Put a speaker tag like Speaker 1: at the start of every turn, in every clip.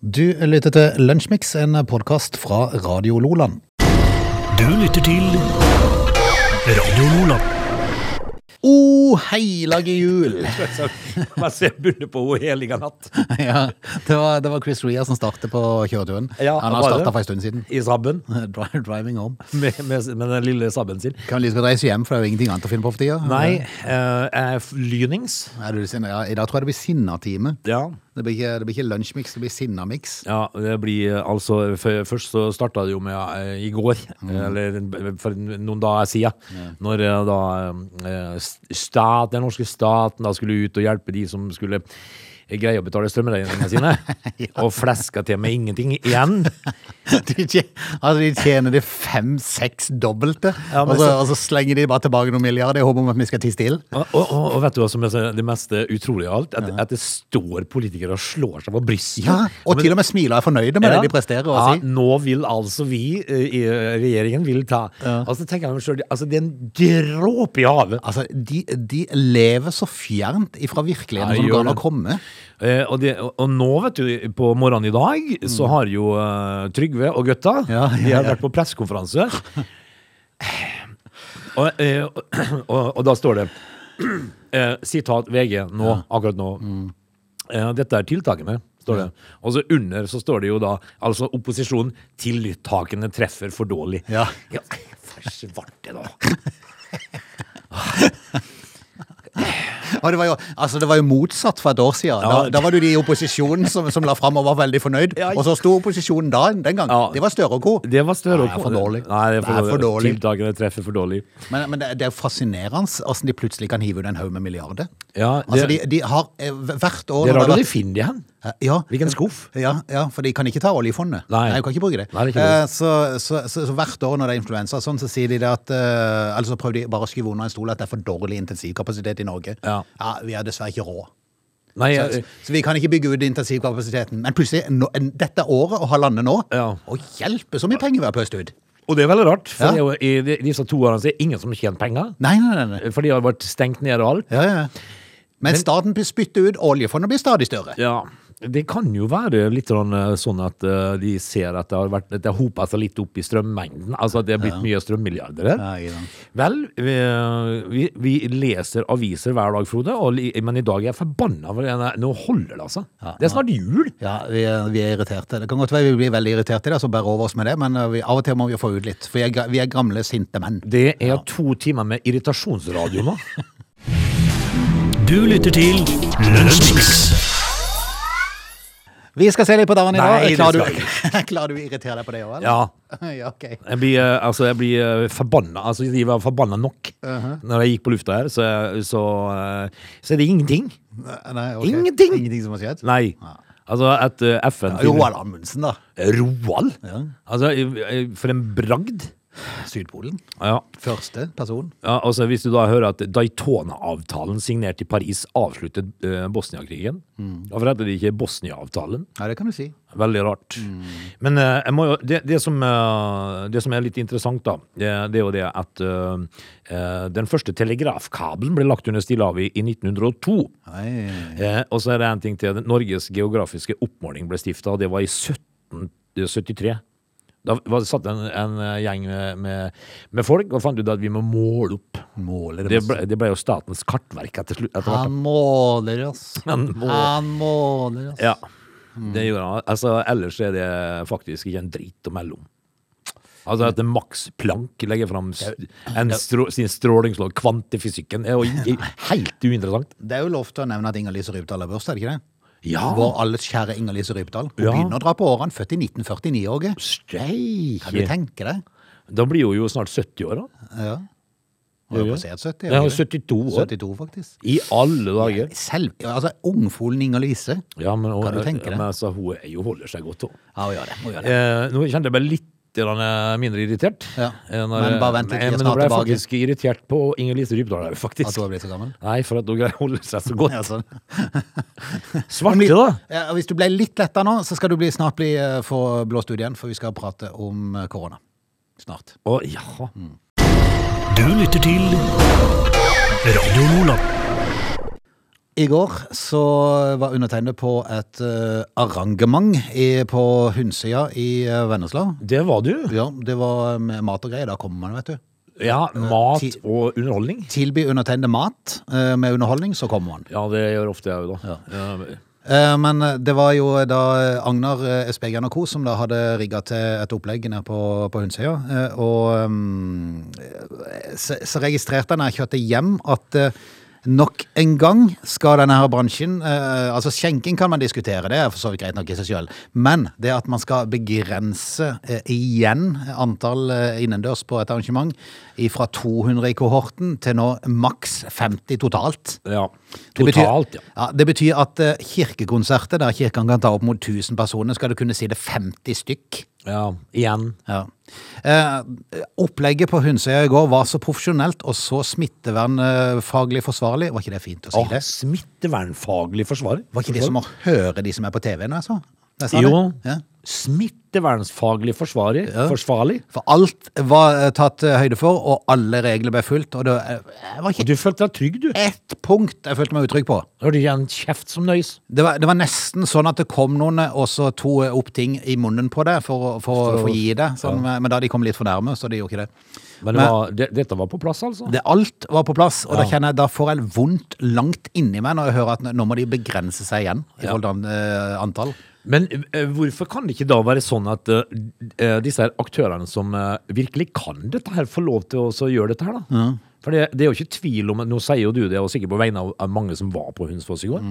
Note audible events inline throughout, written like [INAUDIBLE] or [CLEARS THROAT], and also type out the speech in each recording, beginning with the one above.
Speaker 1: Du lytter til Lunsjmix, en podkast fra Radio Loland.
Speaker 2: Du lytter til Radio Lola.
Speaker 1: Å, heilage jul!
Speaker 3: [LAUGHS] Man ser bundet på Å heliga natt
Speaker 1: [LAUGHS] ja, det, var, det var Chris Rea som startet på kjøreturen.
Speaker 3: Ja,
Speaker 1: Han har
Speaker 3: var det?
Speaker 1: starta for en stund siden. [LAUGHS]
Speaker 3: i sabben,
Speaker 1: Dri- Driving home.
Speaker 3: med, med, med den lille sabben sin.
Speaker 1: Kan like liksom reise hjem, for det er jo ingenting annet å finne på for tida.
Speaker 3: Nei, eh, jeg er lynings.
Speaker 1: Er du sinna? Ja, I dag tror jeg det blir Sinna-time.
Speaker 3: Ja.
Speaker 1: Det blir ikke, det blir ikke lunsjmix, det blir Sinna-mix. [LAUGHS]
Speaker 3: ja, det blir eh, altså f- Først så starta det jo med eh, i går,
Speaker 1: Mm.
Speaker 3: eller en- for noen dager siden, når eh, da eh, stat, den norske staten da skulle ut og hjelpe de som skulle eh, greie å betale strømregningene
Speaker 1: [LAUGHS]
Speaker 3: sine, og fleska til med ingenting igjen.
Speaker 1: De tje- altså, de tjener det fem-seks dobbelte,
Speaker 3: Ja, men
Speaker 1: og, så,
Speaker 3: så-
Speaker 1: og så slenger de bare tilbake noen milliarder i håp om at vi skal tie stille.
Speaker 3: Og, og, og- og vet du hva som er så- det mest utrolige av alt? At, at det står politikere og slår seg på brystet.
Speaker 1: Ja, og til og med smiler og er fornøyde med
Speaker 3: Ja.
Speaker 1: det de presterer. å
Speaker 3: Ja,
Speaker 1: si.
Speaker 3: Nå vil altså vi eh, i regjeringen vil ta Altså tenker jeg meg selv, altså Det er en dråpe i havet.
Speaker 1: Altså, de, de lever så fjernt ifra virkeligheten
Speaker 3: Ja,
Speaker 1: som det
Speaker 3: gjør
Speaker 1: går an å
Speaker 3: det.
Speaker 1: komme.
Speaker 3: Eh, og, det, og og nå, vet du, på morgenen i dag, så har jo eh, Trygve og gutta
Speaker 1: Mm. Ja, ja,
Speaker 3: De har
Speaker 1: ja.
Speaker 3: vært på pressekonferanse.
Speaker 1: [LAUGHS]
Speaker 3: og, eh, og, og da står det [CLEARS THROAT] eh, Sitat VG nå, akkurat nå.
Speaker 1: Mm.
Speaker 3: Eh, dette er tiltakene, står det. Og så under så står det jo da altså opposisjonen 'tiltakene treffer for dårlig'.
Speaker 1: Ja.
Speaker 3: Ja, for svarte, da.
Speaker 1: Og det var jo, altså, det var jo motsatt for et år siden.
Speaker 3: Ja.
Speaker 1: Da, da var du de i opposisjonen som, som la fram og var veldig fornøyd.
Speaker 3: Ja.
Speaker 1: Og så sto opposisjonen da, den gang.
Speaker 3: Ja.
Speaker 1: Det var Støre og co.
Speaker 3: Det var Støre
Speaker 1: Nei, for dårlig.
Speaker 3: Nei, det er for,
Speaker 1: Det er for
Speaker 3: dårlig.
Speaker 1: dårlig.
Speaker 3: Tiltakene treffer for dårlig.
Speaker 1: Men, men det, det er jo fascinerende åssen de plutselig kan hive ut en haug med milliarder.
Speaker 3: Ja,
Speaker 1: altså, de,
Speaker 3: det-
Speaker 1: de har eh, hvert år
Speaker 3: Det er
Speaker 1: når
Speaker 3: rart at
Speaker 1: har
Speaker 3: de finner de hen.
Speaker 1: vært- ja,
Speaker 3: Hvilken skuff?
Speaker 1: ja, ja, for de kan ikke ta oljefondet.
Speaker 3: Nei.
Speaker 1: de kan ikke bruke det.
Speaker 3: Nei, det er ikke
Speaker 1: Eh, så, så, så, så hvert år når det er influensa, og sånn, så sier de det at eh, Eller så prøver de bare å skrive under en stol at det er for dårlig intensivkapasitet i Norge.
Speaker 3: Ja.
Speaker 1: ja Vi har dessverre ikke råd.
Speaker 3: Nei,
Speaker 1: Så,
Speaker 3: jeg-
Speaker 1: så vi kan ikke bygge ut intensivkapasiteten. Men plutselig, nå, en- dette året og halvannet nå
Speaker 3: Ja.
Speaker 1: Å hjelpe, så mye penger vi har pøst ut!
Speaker 3: og det er veldig rart, for
Speaker 1: Ja.
Speaker 3: det er jo, i de- disse to årene så er det ingen som har tjent penger.
Speaker 1: Nei, nei, nei. nei.
Speaker 3: For de har vært stengt ned og alt.
Speaker 1: Ja, ja. Men staten blir spyttet ut, oljefondet blir stadig større.
Speaker 3: Ja, Det kan jo være litt sånn, eh, sånn at eh, de ser at det har vært, at det har hopa seg litt opp i strømmengden. Altså at det har blitt mye strømmilliarder her.
Speaker 1: Ja, ikke sant.
Speaker 3: Vel, vi, vi, vi leser aviser hver dag, Frode, og, li- men i dag er jeg forbanna. for denne- Nå holder det, altså. Det er snart jul.
Speaker 1: Ja, vi, er- vi er irriterte. Det kan godt være vi blir veldig irriterte i dag, så bær over oss med det, men eh, vi, av og til må vi få ut litt. For vi er, ga- vi er gamle, sinte menn.
Speaker 3: Det er to timer med irritasjonsradio nå.
Speaker 2: Du lytter til Lunsjmix.
Speaker 1: Vi skal se litt på dagen i dag.
Speaker 3: Nei, det
Speaker 1: klarer,
Speaker 3: skal
Speaker 1: du, [LAUGHS] klarer du å irritere deg på det òg, eller?
Speaker 3: [LAUGHS] Ja,
Speaker 1: [LAUGHS] ja, ok.
Speaker 3: Jeg blir, eh, altså, jeg blir eh, forbanna. Altså, de var forbanna nok. Når jeg gikk på lufta her, så, så, eh, så er det ingenting.
Speaker 1: Nei, ok.
Speaker 3: Ingenting!
Speaker 1: Ingenting som har skjedd?
Speaker 3: Nei. Altså at eh, FN
Speaker 1: Roald Amundsen, da.
Speaker 3: Roald?
Speaker 1: Ja.
Speaker 3: Altså, eh, eh, for en bragd.
Speaker 1: Sydpolen.
Speaker 3: Ja.
Speaker 1: Første person.
Speaker 3: ja. Altså, hvis du da hører at Daytona-avtalen signert i Paris avsluttet eh, Bosnia-krigen Hvorfor heter det ikke Bosnia-avtalen?
Speaker 1: Ja, det kan du si.
Speaker 3: Veldig rart. Men eh, jeg må jo, det, det, som, eh, det som er litt interessant, da, det, det er jo det at eh, eh, den første telegrafkabelen ble lagt under Stillehavet i 1902.
Speaker 1: Nei.
Speaker 3: Eh, og så er det en ting til. Norges geografiske oppmåling ble stifta, og det var i 1773. Da var, satt en, en eh, gjeng med, med, med folk og fant ut at vi må måle opp.
Speaker 1: Måler
Speaker 3: Det ble, det ble jo Statens kartverk etter slutt. Etter hvert, da.
Speaker 1: Han måler oss.
Speaker 3: Han må-
Speaker 1: måler oss.
Speaker 3: Ja,
Speaker 1: Mm.
Speaker 3: det gjorde han. Altså, ellers er det faktisk ikke en drit å melde om. Altså at
Speaker 1: Mm.
Speaker 3: Max Planck legger fram s- en strå, sin strålingslov, kvantefysikken, er jo
Speaker 1: [LAUGHS]
Speaker 3: ikke- helt uinteressant.
Speaker 1: Det er jo lov til å nevne at Inger-Lise Rypdal er børst, er det ikke det?
Speaker 3: Ja.
Speaker 1: Vår alles kjære Inger-Lise Rypdal. Hun
Speaker 3: Ja.
Speaker 1: begynner å dra på årene, født i 1949, Åge. Kan du
Speaker 3: Steike!
Speaker 1: tenke deg?
Speaker 3: Da blir hun jo snart 70 år, da.
Speaker 1: Ja. Hun er
Speaker 3: Ja.
Speaker 1: passert 70.
Speaker 3: Nei, hun er
Speaker 1: ikke det?
Speaker 3: 72 år.
Speaker 1: 72, faktisk.
Speaker 3: I alle dager.
Speaker 1: Selv, ja, altså, ungfolen Inger-Lise.
Speaker 3: Ja, men, hun,
Speaker 1: Kan du tenke deg?
Speaker 3: men altså, hun er jo holder seg godt òg.
Speaker 1: Ja, hun gjør det. Hun gjør det.
Speaker 3: Eh, nå kjente jeg meg litt grann eh, mindre irritert.
Speaker 1: Ja,
Speaker 3: Eh,
Speaker 1: men bare vent litt, vi er
Speaker 3: men
Speaker 1: snart
Speaker 3: nå ble jeg
Speaker 1: tilbake.
Speaker 3: faktisk irritert på Inger-Lise Rypdal,
Speaker 1: At hun
Speaker 3: faktisk.
Speaker 1: har blitt så gammel.
Speaker 3: Nei, for at hun greier å holde seg så godt.
Speaker 1: Ja, sånn.
Speaker 3: Svarte, da!
Speaker 1: Ja, og hvis du ble litt letta nå, så skal du bli, snart bli eh, få blåst ut igjen, for vi skal prate om eh, korona. Snart.
Speaker 3: Å, ja.
Speaker 1: Mm.
Speaker 2: Du lytter til Radio Lola.
Speaker 1: I går så var undertegnet på et eh, arrangement i, på Hunsøya i eh, Vennesla.
Speaker 3: Det var du.
Speaker 1: Ja, det var eh, med mat og greier. Da kommer man, vet du.
Speaker 3: Ja, mat
Speaker 1: ti-
Speaker 3: og underholdning.
Speaker 1: Tilby undertegnede mat eh, med underholdning, så kommer man.
Speaker 3: Ja, det gjør ofte jeg jo, da. Ja.
Speaker 1: Eh, Men det var jo da Agnar eh, Spegern og co. som da hadde rigga til et opplegg nede på, på Hunsøya. eh, Og mm, eh, så, så registrerte jeg når jeg kjørte hjem at eh, nok en gang skal denne her bransjen eh, Altså skjenking kan man diskutere, det er for så vidt greit nok i seg sjøl. Men det at man skal begrense eh, igjen antall eh, innendørs på et arrangement fra 200 i kohorten til nå maks 50 totalt.
Speaker 3: ja.
Speaker 1: Det betyr-
Speaker 3: Totalt, ja.
Speaker 1: ja. Det betyr at eh, kirkekonserter der kirken kan ta opp mot 1000 personer, skal du kunne si det 50 stykk.
Speaker 3: ja. Igjen.
Speaker 1: Ja. Eh, opplegget på Hunsøya i går var så profesjonelt og så smittevernfaglig forsvarlig. Var ikke det fint å si
Speaker 3: Åh,
Speaker 1: det?
Speaker 3: smittevernfaglig forsvar.
Speaker 1: Var ikke det som å høre de som er på TV-en, altså? Jeg sa det.
Speaker 3: Jo.
Speaker 1: Ja.
Speaker 3: Smittevernfaglig forsvarer. Forsvarlig.
Speaker 1: For alt var eh, tatt eh, høyde for, og alle regler ble fulgt. Og det eh, det var
Speaker 3: Og
Speaker 1: ikke
Speaker 3: Du følte deg trygg, du.
Speaker 1: ett punkt jeg følte meg utrygg på.
Speaker 3: Hørte ikke en kjeft som nøys.
Speaker 1: Det var, det var nesten sånn at det kom noen eh, og så to eh, opp ting i munnen på det for, å- for, å- for å gi det. Sånn, eh, Men da de kom litt for nærme, så de gjorde ikke det.
Speaker 3: Men, det
Speaker 1: Men-
Speaker 3: var, det, dette var på plass, altså.
Speaker 1: det. Alt var på plass, og da kjenner jeg da får jeg vondt langt inni meg når jeg hører at nå- nå må de begrense seg igjen i forhold til eh, antall.
Speaker 3: Men eh, hvorfor kan det ikke da være sånn at eh, eh, disse her aktørene som eh, virkelig kan dette her, får lov til å også gjøre dette her, da? For det, det er jo ikke tvil om, nå sier jo du det, og sikkert på vegne av, av mange som var på Hunsfoss i går,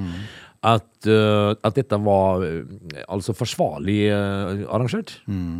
Speaker 3: at, eh, at dette var eh, altså forsvarlig eh, arrangert,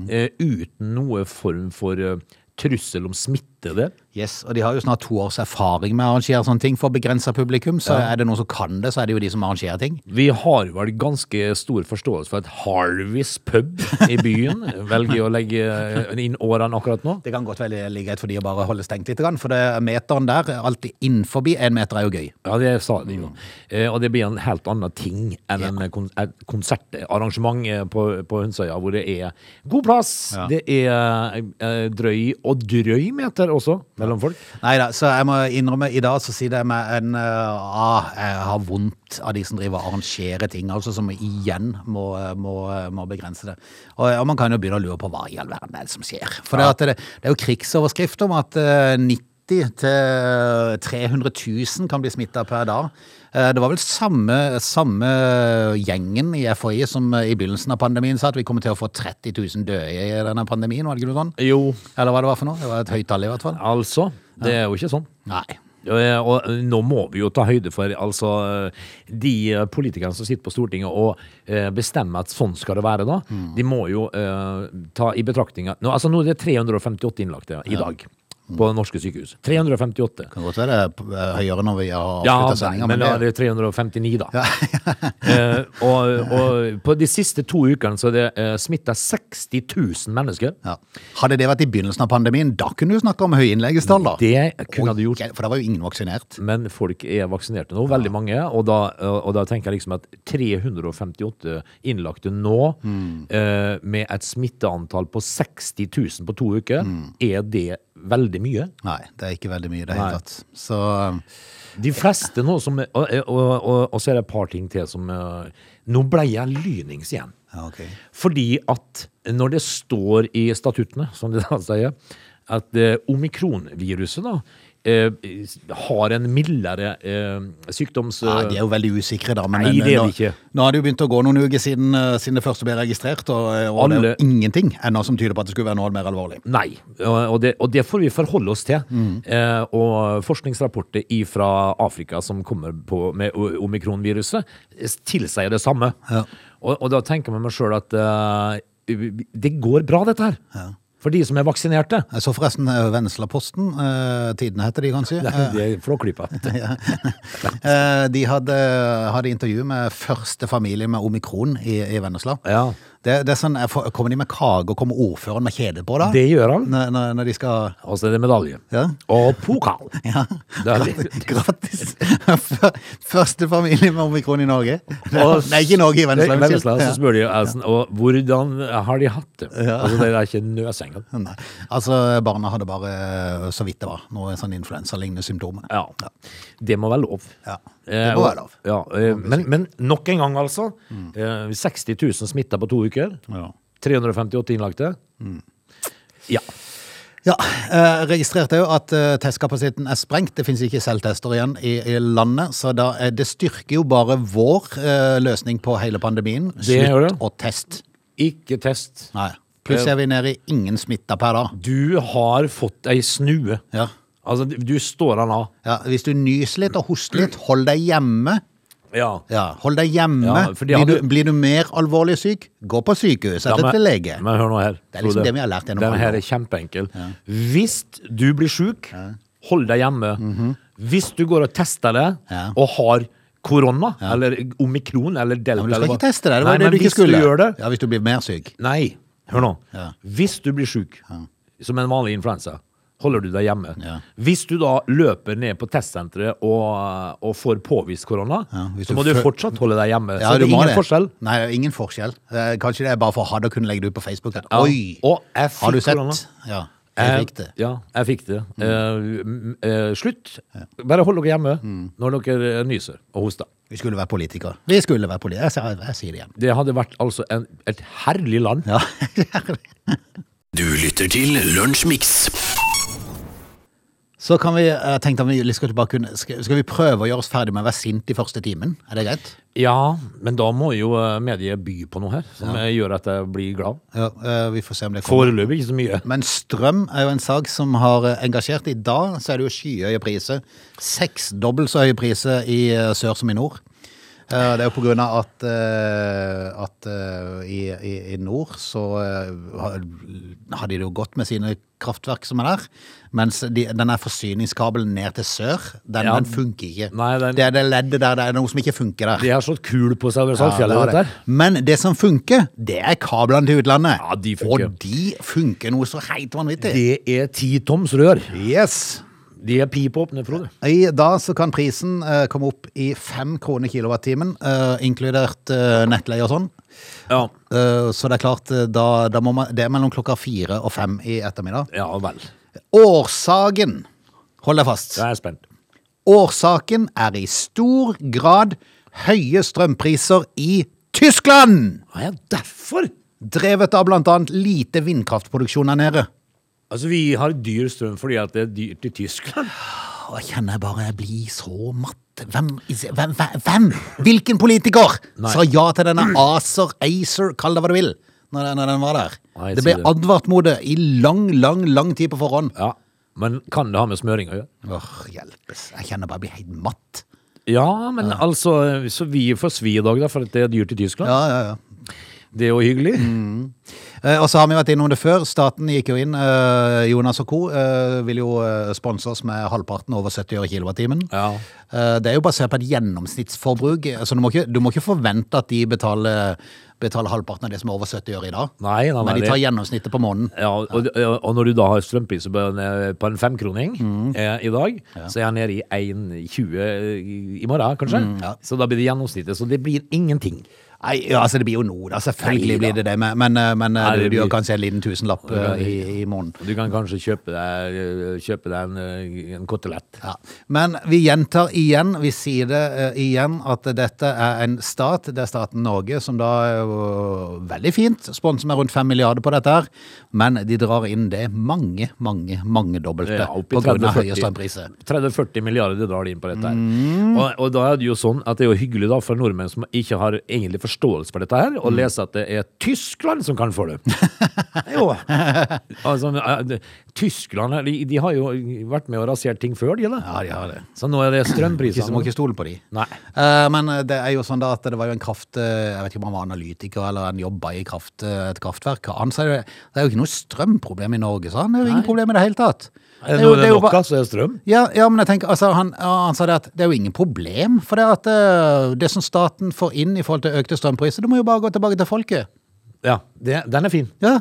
Speaker 3: eh, uten noe form for eh, trussel om smitte der.
Speaker 1: Yes, og De har jo snart to års erfaring med å arrangere sånne ting for begrensa publikum. Så er det noen som kan det, så er det jo de som arrangerer ting.
Speaker 3: Vi har vel ganske stor forståelse for at Harvis pub i byen velger å legge eh, inn årene akkurat nå.
Speaker 1: Det kan godt være det ligger greit for de å bare holde stengt litt, for det er meteren der, alltid innenfor én meter, er jo gøy.
Speaker 3: Ja, det sa de jo. Eh, og det blir en helt annen ting enn en kon et konsertarrangement eh, på, på Hunsøya, hvor det er god plass,
Speaker 1: Ja.
Speaker 3: det er eh, drøy og drøy meter også mellom folk.
Speaker 1: Nei da, så jeg må innrømme i dag så sier det med en eh, ah, Jeg har vondt av de som driver og arrangerer ting, altså som igjen må, eh, må, eh, må begrense det. Og, og man kan jo begynne å lure på hva i all verden er det som skjer. For det, at det, det er jo krigsoverskrift om at eh, 90 til 300 000 kan bli smitta per dag. Eh, Det var vel samme, samme gjengen i FHI som eh, i begynnelsen av pandemien sa at vi kommer til å få 30 000 døde i denne pandemien, var det ikke noe sånn?
Speaker 3: Jo,
Speaker 1: Eller hva det var for noe? Det var et høyt tall i hvert fall.
Speaker 3: altså. Det er jo ikke sånn.
Speaker 1: Nei.
Speaker 3: Og, og eh, nå må vi jo ta høyde for altså, de politikerne som sitter på Stortinget og eh, bestemmer at sånn skal det være, da. De må jo eh, ta i betraktning at nå, altså, nå er det 358 innlagte i dag på norske sykehus. 358.
Speaker 1: Kan godt være det er p- eh, høyere når vi har
Speaker 3: Ja,
Speaker 1: avslutta
Speaker 3: nei,
Speaker 1: sendinga,
Speaker 3: men
Speaker 1: men
Speaker 3: da er
Speaker 1: det,
Speaker 3: det 359,
Speaker 1: [LAUGHS]
Speaker 3: da. eh, og, og på de siste to ukene så er det eh, smitta 60 000 mennesker.
Speaker 1: ja. Hadde det vært i begynnelsen av pandemien, da kunne du snakke om høye innleggestall, da.
Speaker 3: Det kunne du gjort.
Speaker 1: Oi, For da var jo ingen vaksinert.
Speaker 3: Men folk er vaksinerte nå, veldig mange. Og da, og da tenker jeg liksom at 358 innlagte nå,
Speaker 1: Mm.
Speaker 3: eh, med et smitteantall på 60 000 på to uker,
Speaker 1: Mm.
Speaker 3: er det veldig mye?
Speaker 1: Nei, det er ikke veldig mye i det
Speaker 3: Nei.
Speaker 1: hele tatt. Så
Speaker 3: De fleste nå som Og, og, og, og så er det et par ting til som eh, Nå ble jeg lynings igjen.
Speaker 1: ja, ok.
Speaker 3: Fordi at når det står i statuttene, som det da sier, at eh, omikronviruset da eh, har en mildere eh, sykdoms...
Speaker 1: Ja, de er jo veldig usikre, da. Men
Speaker 3: Nei,
Speaker 1: men
Speaker 3: det er
Speaker 1: nå,
Speaker 3: de ikke.
Speaker 1: nå har det jo begynt å gå noen uker siden, eh, siden det første ble registrert, og, eh, og det
Speaker 3: Alle-
Speaker 1: er jo ingenting ennå som tyder på at det skulle være noe mer alvorlig.
Speaker 3: Nei, og og det, og det får vi forholde oss til.
Speaker 1: Mm.
Speaker 3: Eh, og forskningsrapporter fra Afrika som kommer på med o- omikronviruset, s- tilsier det samme.
Speaker 1: Ja.
Speaker 3: Og, og da tenker jeg meg sjøl at eh, det går bra, dette her. For de som er vaksinerte.
Speaker 1: Jeg så forresten eh, Venneslaposten, eh, Tidene heter de
Speaker 3: [LAUGHS]
Speaker 1: kanskje.
Speaker 3: Det
Speaker 1: Eh,
Speaker 3: er flåklypa.
Speaker 1: [LAUGHS] eh, De hadde, hadde intervju med første familie med omikron i, i Vennesla.
Speaker 3: Ja.
Speaker 1: Det, det er sånn, jeg får- Kommer de med kage, og kommer ordføreren med kjede på, da?
Speaker 3: Det gjør han.
Speaker 1: Når, når, når de skal
Speaker 3: Og så er det medalje.
Speaker 1: Ja.
Speaker 3: Og pokal.
Speaker 1: [LAUGHS] Ja.
Speaker 3: Det er litt-
Speaker 1: Gratis! Fø- Første familie med omikron i Norge.
Speaker 3: [LAUGHS] Og-
Speaker 1: Nei, ikke i Norge, i Vennesla.
Speaker 3: Vennesla,
Speaker 1: unnskyld.
Speaker 3: Så spør de altså, og hvordan har de hatt det. Altså, det er ikke nøsengen.
Speaker 1: Ja. Nei. Altså, barna hadde bare eh, så vidt det var. Noe sånn influensalignende symptomer.
Speaker 3: Ja. Det må være lov.
Speaker 1: Ja.
Speaker 3: Eh,
Speaker 1: Det må
Speaker 3: og-
Speaker 1: være lov.
Speaker 3: Ja, eh, men, men nok en gang, altså. Eh, 60 000 smitta på to uker.
Speaker 1: Ja. Mm.
Speaker 3: 358 innlagte. Ja.
Speaker 1: Ja, eh, registrerte jo at eh, testkapasiteten er sprengt. Det finnes ikke selvtester igjen i, i landet, så da, er- det styrker jo bare vår eh, løsning på hele pandemien.
Speaker 3: gjør det.
Speaker 1: Slutt å test.
Speaker 3: Ikke test.
Speaker 1: Nei. Plutselig er vi nede i ingen smitta per dag.
Speaker 3: Du har fått ei snue.
Speaker 1: Ja.
Speaker 3: Altså, du står han av.
Speaker 1: Ja, hvis du nyser litt og hoster litt, hold deg hjemme.
Speaker 3: Ja.
Speaker 1: Ja, hold deg hjemme.
Speaker 3: Ja, for de
Speaker 1: blir,
Speaker 3: hadde-
Speaker 1: du, blir du mer alvorlig syk, gå på sykehus
Speaker 3: Ja,
Speaker 1: etter
Speaker 3: men-
Speaker 1: til lege.
Speaker 3: Men hør nå her.
Speaker 1: Det er liksom
Speaker 3: Frode.
Speaker 1: det vi har lært gjennom
Speaker 3: Den
Speaker 1: alle
Speaker 3: her
Speaker 1: år.
Speaker 3: er kjempeenkel. Hvis du blir syk, hold deg hjemme. Hvis du går og tester deg
Speaker 1: Mhm. Ja.
Speaker 3: og har korona, eller omikron, eller delta
Speaker 1: Ja, men du
Speaker 3: eller
Speaker 1: skal
Speaker 3: hva-
Speaker 1: ikke teste deg, det
Speaker 3: Nei,
Speaker 1: var det
Speaker 3: men
Speaker 1: du ikke
Speaker 3: hvis
Speaker 1: skulle.
Speaker 3: Du gjør det,
Speaker 1: Ja, hvis du blir mer syk.
Speaker 3: Nei, hør nå.
Speaker 1: Ja.
Speaker 3: Hvis du blir syk, som en vanlig influensa, holder du deg hjemme.
Speaker 1: Ja.
Speaker 3: Hvis du da løper ned på testsenteret og, og får påvist korona,
Speaker 1: Ja, hvis
Speaker 3: så
Speaker 1: du
Speaker 3: må du
Speaker 1: fø-
Speaker 3: fortsatt holde deg hjemme.
Speaker 1: Ja,
Speaker 3: så det
Speaker 1: du
Speaker 3: er
Speaker 1: må
Speaker 3: ingen forskjell.
Speaker 1: Nei, det er ingen forskjell. Eh, Kanskje det er bare for å ha det og kunne legge det ut på Facebook.
Speaker 3: Ja.
Speaker 1: Oi!
Speaker 3: Og jeg fikk
Speaker 1: Har du
Speaker 3: korona.
Speaker 1: sett? Ja, jeg fikk det.
Speaker 3: Eh, Ja, jeg fikk det. Eh, m- eh, slutt. Bare hold dere hjemme når dere eh, nyser og hoster.
Speaker 1: Vi skulle være politikere. Vi skulle være politikere. Jeg, sier- jeg sier det igjen.
Speaker 3: Det hadde vært altså en, et herlig land.
Speaker 1: Ja. [LAUGHS]
Speaker 2: Du lytter til Lunsjmix.
Speaker 1: Så kan vi, jeg tenkte om vi litt skal bare kunne, skal skal vi prøve å gjøre oss ferdig med å være sint i første timen? Er det greit?
Speaker 3: Ja, men da må jo eh, mediet by på noe her, som eh, gjør at jeg blir glad.
Speaker 1: Ja, eh, vi får se om det kommer.
Speaker 3: Foreløpig ikke så mye.
Speaker 1: [LAUGHS] Men strøm er jo en sak som har eh, engasjert. I dag så er det jo skyhøye priser. Seks dobbelt så høye priser i eh, sør som i nord. Eh, Det er jo på grunn av at, eh, at eh, i, i, i nord så eh, har- hadde de det jo godt med sine kraftverk som er der, mens de, denne forsyningskabelen ned til sør, den,
Speaker 3: Ja.
Speaker 1: den funker ikke.
Speaker 3: Nei, den-
Speaker 1: Det er det leddet der, det er noe som ikke funker der.
Speaker 3: De har slått kul på
Speaker 1: Ja,
Speaker 3: seg sånn over
Speaker 1: det
Speaker 3: Saltfjellet.
Speaker 1: var
Speaker 3: vet
Speaker 1: det.
Speaker 3: du.
Speaker 1: Men det som funker, det er kablene til utlandet.
Speaker 3: Ja, de funker.
Speaker 1: Og de funker noe så heit vanvittig.
Speaker 3: det er ti toms rør.
Speaker 1: Yes!
Speaker 3: De er pipåpne, Frode.
Speaker 1: I dag så kan prisen eh, komme opp i fem kroner kilowattimen, eh, inkludert eh, nettleie og sånn.
Speaker 3: Ja.
Speaker 1: Eh, så det er klart, eh, da, da må man, det er mellom klokka fire og fem i ettermiddag.
Speaker 3: ja vel.
Speaker 1: Årsaken, hold deg fast,
Speaker 3: Da er jeg spent.
Speaker 1: årsaken er i stor grad høye strømpriser i Tyskland!
Speaker 3: Ja, ja, derfor!
Speaker 1: Drevet av blant annet lite vindkraftproduksjon her nede.
Speaker 3: Altså, vi har dyr strøm fordi at det er dyrt i Tyskland.
Speaker 1: Åh, Jeg kjenner jeg bare jeg blir så matt. Hvem, hvem, hvem- hvem? Hvilken politiker
Speaker 3: Nei.
Speaker 1: sa ja til denne ACER, ACER, kall det hva du vil, når den, når den var der?
Speaker 3: Nei,
Speaker 1: det
Speaker 3: si
Speaker 1: ble
Speaker 3: det.
Speaker 1: advart mot det i lang, lang lang tid på forhånd.
Speaker 3: Ja, Men kan det ha med smøring å gjøre?
Speaker 1: Åh, hjelpes. Jeg kjenner bare jeg blir helt matt.
Speaker 3: Ja, men altså Så vi får svi i dag, da, for at det er dyrt i Tyskland.
Speaker 1: Ja, ja, ja.
Speaker 3: Det er jo hyggelig.
Speaker 1: Eh, Og så har vi vært innom det før. Staten gikk jo inn. eh, Jonas og co. eh, vil jo eh, sponse oss med halvparten over 70 øre kilowattimen.
Speaker 3: Ja.
Speaker 1: Eh, Det er jo basert på et gjennomsnittsforbruk, eh, så du må ikke, du må ikke forvente at de betaler, betaler halvparten av det som er over 70 øre i dag.
Speaker 3: Nei, nei, nei,
Speaker 1: Men de tar
Speaker 3: det-
Speaker 1: gjennomsnittet på måneden.
Speaker 3: Ja, og, og når du da har strømpriser på en- på en femkroning
Speaker 1: Mm.
Speaker 3: eh, i dag, så er han nede i 1,20 i morgen, kanskje.
Speaker 1: Mm, ja.
Speaker 3: Så da blir det gjennomsnittet. Så det blir ingenting.
Speaker 1: Nei, ja, altså det blir jo noe, da. Selvfølgelig
Speaker 3: Nei, da.
Speaker 1: blir det det, men, men, eh, men eh,
Speaker 3: Nei,
Speaker 1: du,
Speaker 3: det
Speaker 1: du gjør
Speaker 3: blir-
Speaker 1: kanskje en liten tusenlapp eh, i, i måneden.
Speaker 3: Du kan kanskje kjøpe deg, kjøpe deg en, eh, en kotelett.
Speaker 1: Ja. Men vi gjentar igjen, vi sier det eh, igjen, at dette er en stat, det er staten Norge, som da er jo veldig fint, sponser med rundt 5 milliarder på dette her, men de drar inn det mange, mange, mange dobbelte
Speaker 3: Ja, opp i
Speaker 1: på grunn av
Speaker 3: 30-40.
Speaker 1: høye strømpriser.
Speaker 3: 30-40 milliarder drar de inn på dette her.
Speaker 1: Mm.
Speaker 3: Og, og da er det jo sånn at det er jo hyggelig da for nordmenn som ikke har egentlig forståelse for dette her,
Speaker 1: Mm.
Speaker 3: å lese at det er Tyskland som kan få
Speaker 1: [LAUGHS]
Speaker 3: det. jo. Altså, eh, det- Tyskland, eh, de, de har jo vært med og rasert ting før, de da.
Speaker 1: Ja, de har det.
Speaker 3: Så nå er det
Speaker 1: Ikke, så må
Speaker 3: strømpriser.
Speaker 1: ikke stole på de.
Speaker 3: Nei.
Speaker 1: Eh, men det er jo sånn da at det var jo en kraft eh, Jeg vet ikke om han var analytiker eller han jobba i kraft, eh, et kraftverk. Han sa jo det er jo ikke noe strømproblem i Norge, sa han. Det er jo ingen problem i det hele tatt.
Speaker 3: Eh,
Speaker 1: Det
Speaker 3: Er det
Speaker 1: er jo-
Speaker 3: noe
Speaker 1: det er
Speaker 3: det
Speaker 1: jo
Speaker 3: nok
Speaker 1: ba-
Speaker 3: av, så er det strøm.
Speaker 1: Ja, ja, men jeg tenker, altså, han, han sa det at det er jo ingen problem. For det, at, eh, det som staten får inn i forhold til økte strømpriser, det må jo bare gå tilbake til folket.
Speaker 3: Ja, det, den er fin.
Speaker 1: Ja.